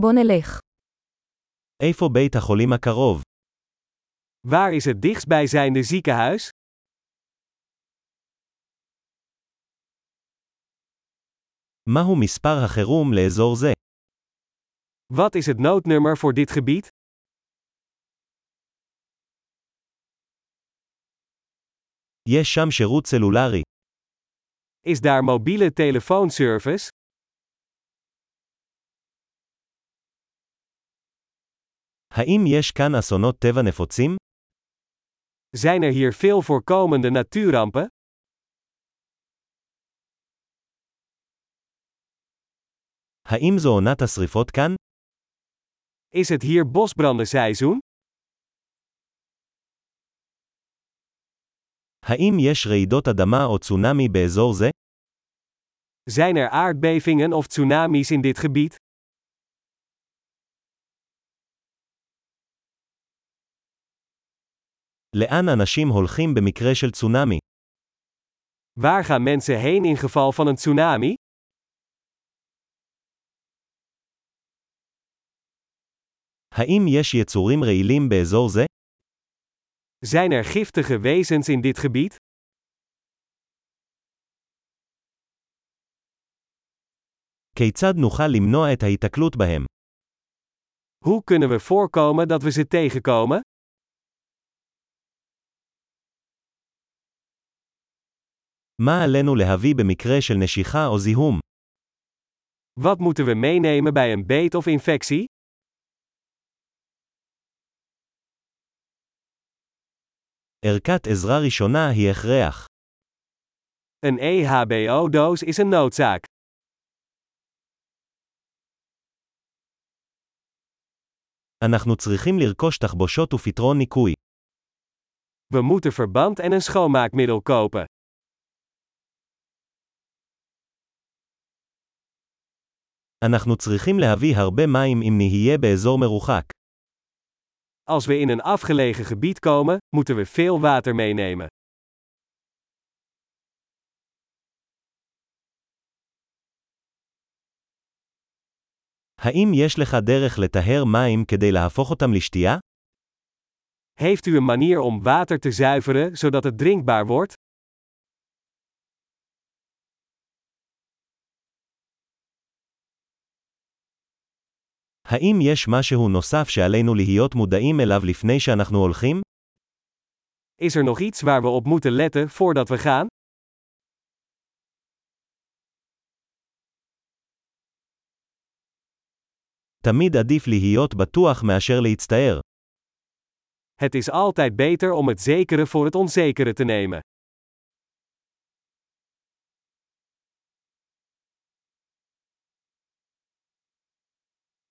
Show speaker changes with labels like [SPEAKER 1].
[SPEAKER 1] בוא נלך.
[SPEAKER 2] איפה בית החולים הקרוב?
[SPEAKER 3] Waar is het dichtstbijzijnde ziekenhuis?
[SPEAKER 2] מהו מספר החירום לאזור זה?
[SPEAKER 3] Wat is het noodnummer voor dit gebied?
[SPEAKER 2] יש שם שירות סלולרי.
[SPEAKER 3] Is daar mobiele telefoonservice?
[SPEAKER 2] האם יש כאן אסונות טבע נפוצים?
[SPEAKER 3] Zijn er hier veel voorkomende natuurrampen?
[SPEAKER 2] האם זו עונת השרפות כאן?
[SPEAKER 3] Is het hier bosbrandenseizoen?
[SPEAKER 2] האם יש רעידות אדמה או צונאמי באזור זה?
[SPEAKER 3] Zijn er aardbevingen of tsunamis in dit gebied?
[SPEAKER 2] לאן אנשים הולכים במקרה של צונאמי?
[SPEAKER 3] Waar gaan mensen heen in geval van een tsunami?
[SPEAKER 2] האם יש יצורים רעילים באזור זה?
[SPEAKER 3] Zijn er giftige wezens in dit gebied?
[SPEAKER 2] כיצד נוכל למנוע את ההיתקלות בהם?
[SPEAKER 3] Hoe kunnen we voorkomen dat we ze tegenkomen?
[SPEAKER 2] מה עלינו להביא במקרה של נשיכה או זיהום?
[SPEAKER 3] Wat moeten we meenemen bij een beet of infectie?
[SPEAKER 2] ערכת עזרה ראשונה היא הכרח.
[SPEAKER 3] Een E EHBO-doos is een noodzaak.
[SPEAKER 2] אנחנו צריכים לרכוש תחבושות ופתרון ניקוי.
[SPEAKER 3] We moeten verband en een schoonmaakmiddel kopen.
[SPEAKER 2] אנחנו צריכים להביא הרבה מים אם נהיה באזור מרוחק.
[SPEAKER 3] Als we in een afgelegen gebied komen, moeten we veel water meenemen.
[SPEAKER 2] האם יש לך דרך לטהר מים כדי להפוך אותם לשתייה?
[SPEAKER 3] Heeft u een manier om water te zuiveren zodat het drinkbaar wordt?
[SPEAKER 2] האם יש משהו נוסף שעלינו להיות מודעים אליו לפני שאנחנו הולכים?
[SPEAKER 3] Is er nog iets waar we op moeten letten voordat we gaan?
[SPEAKER 2] תמיד עדיף להיות בטוח מאשר להצטער.
[SPEAKER 3] Het is altijd beter om het zekere voor het onzekere te nemen.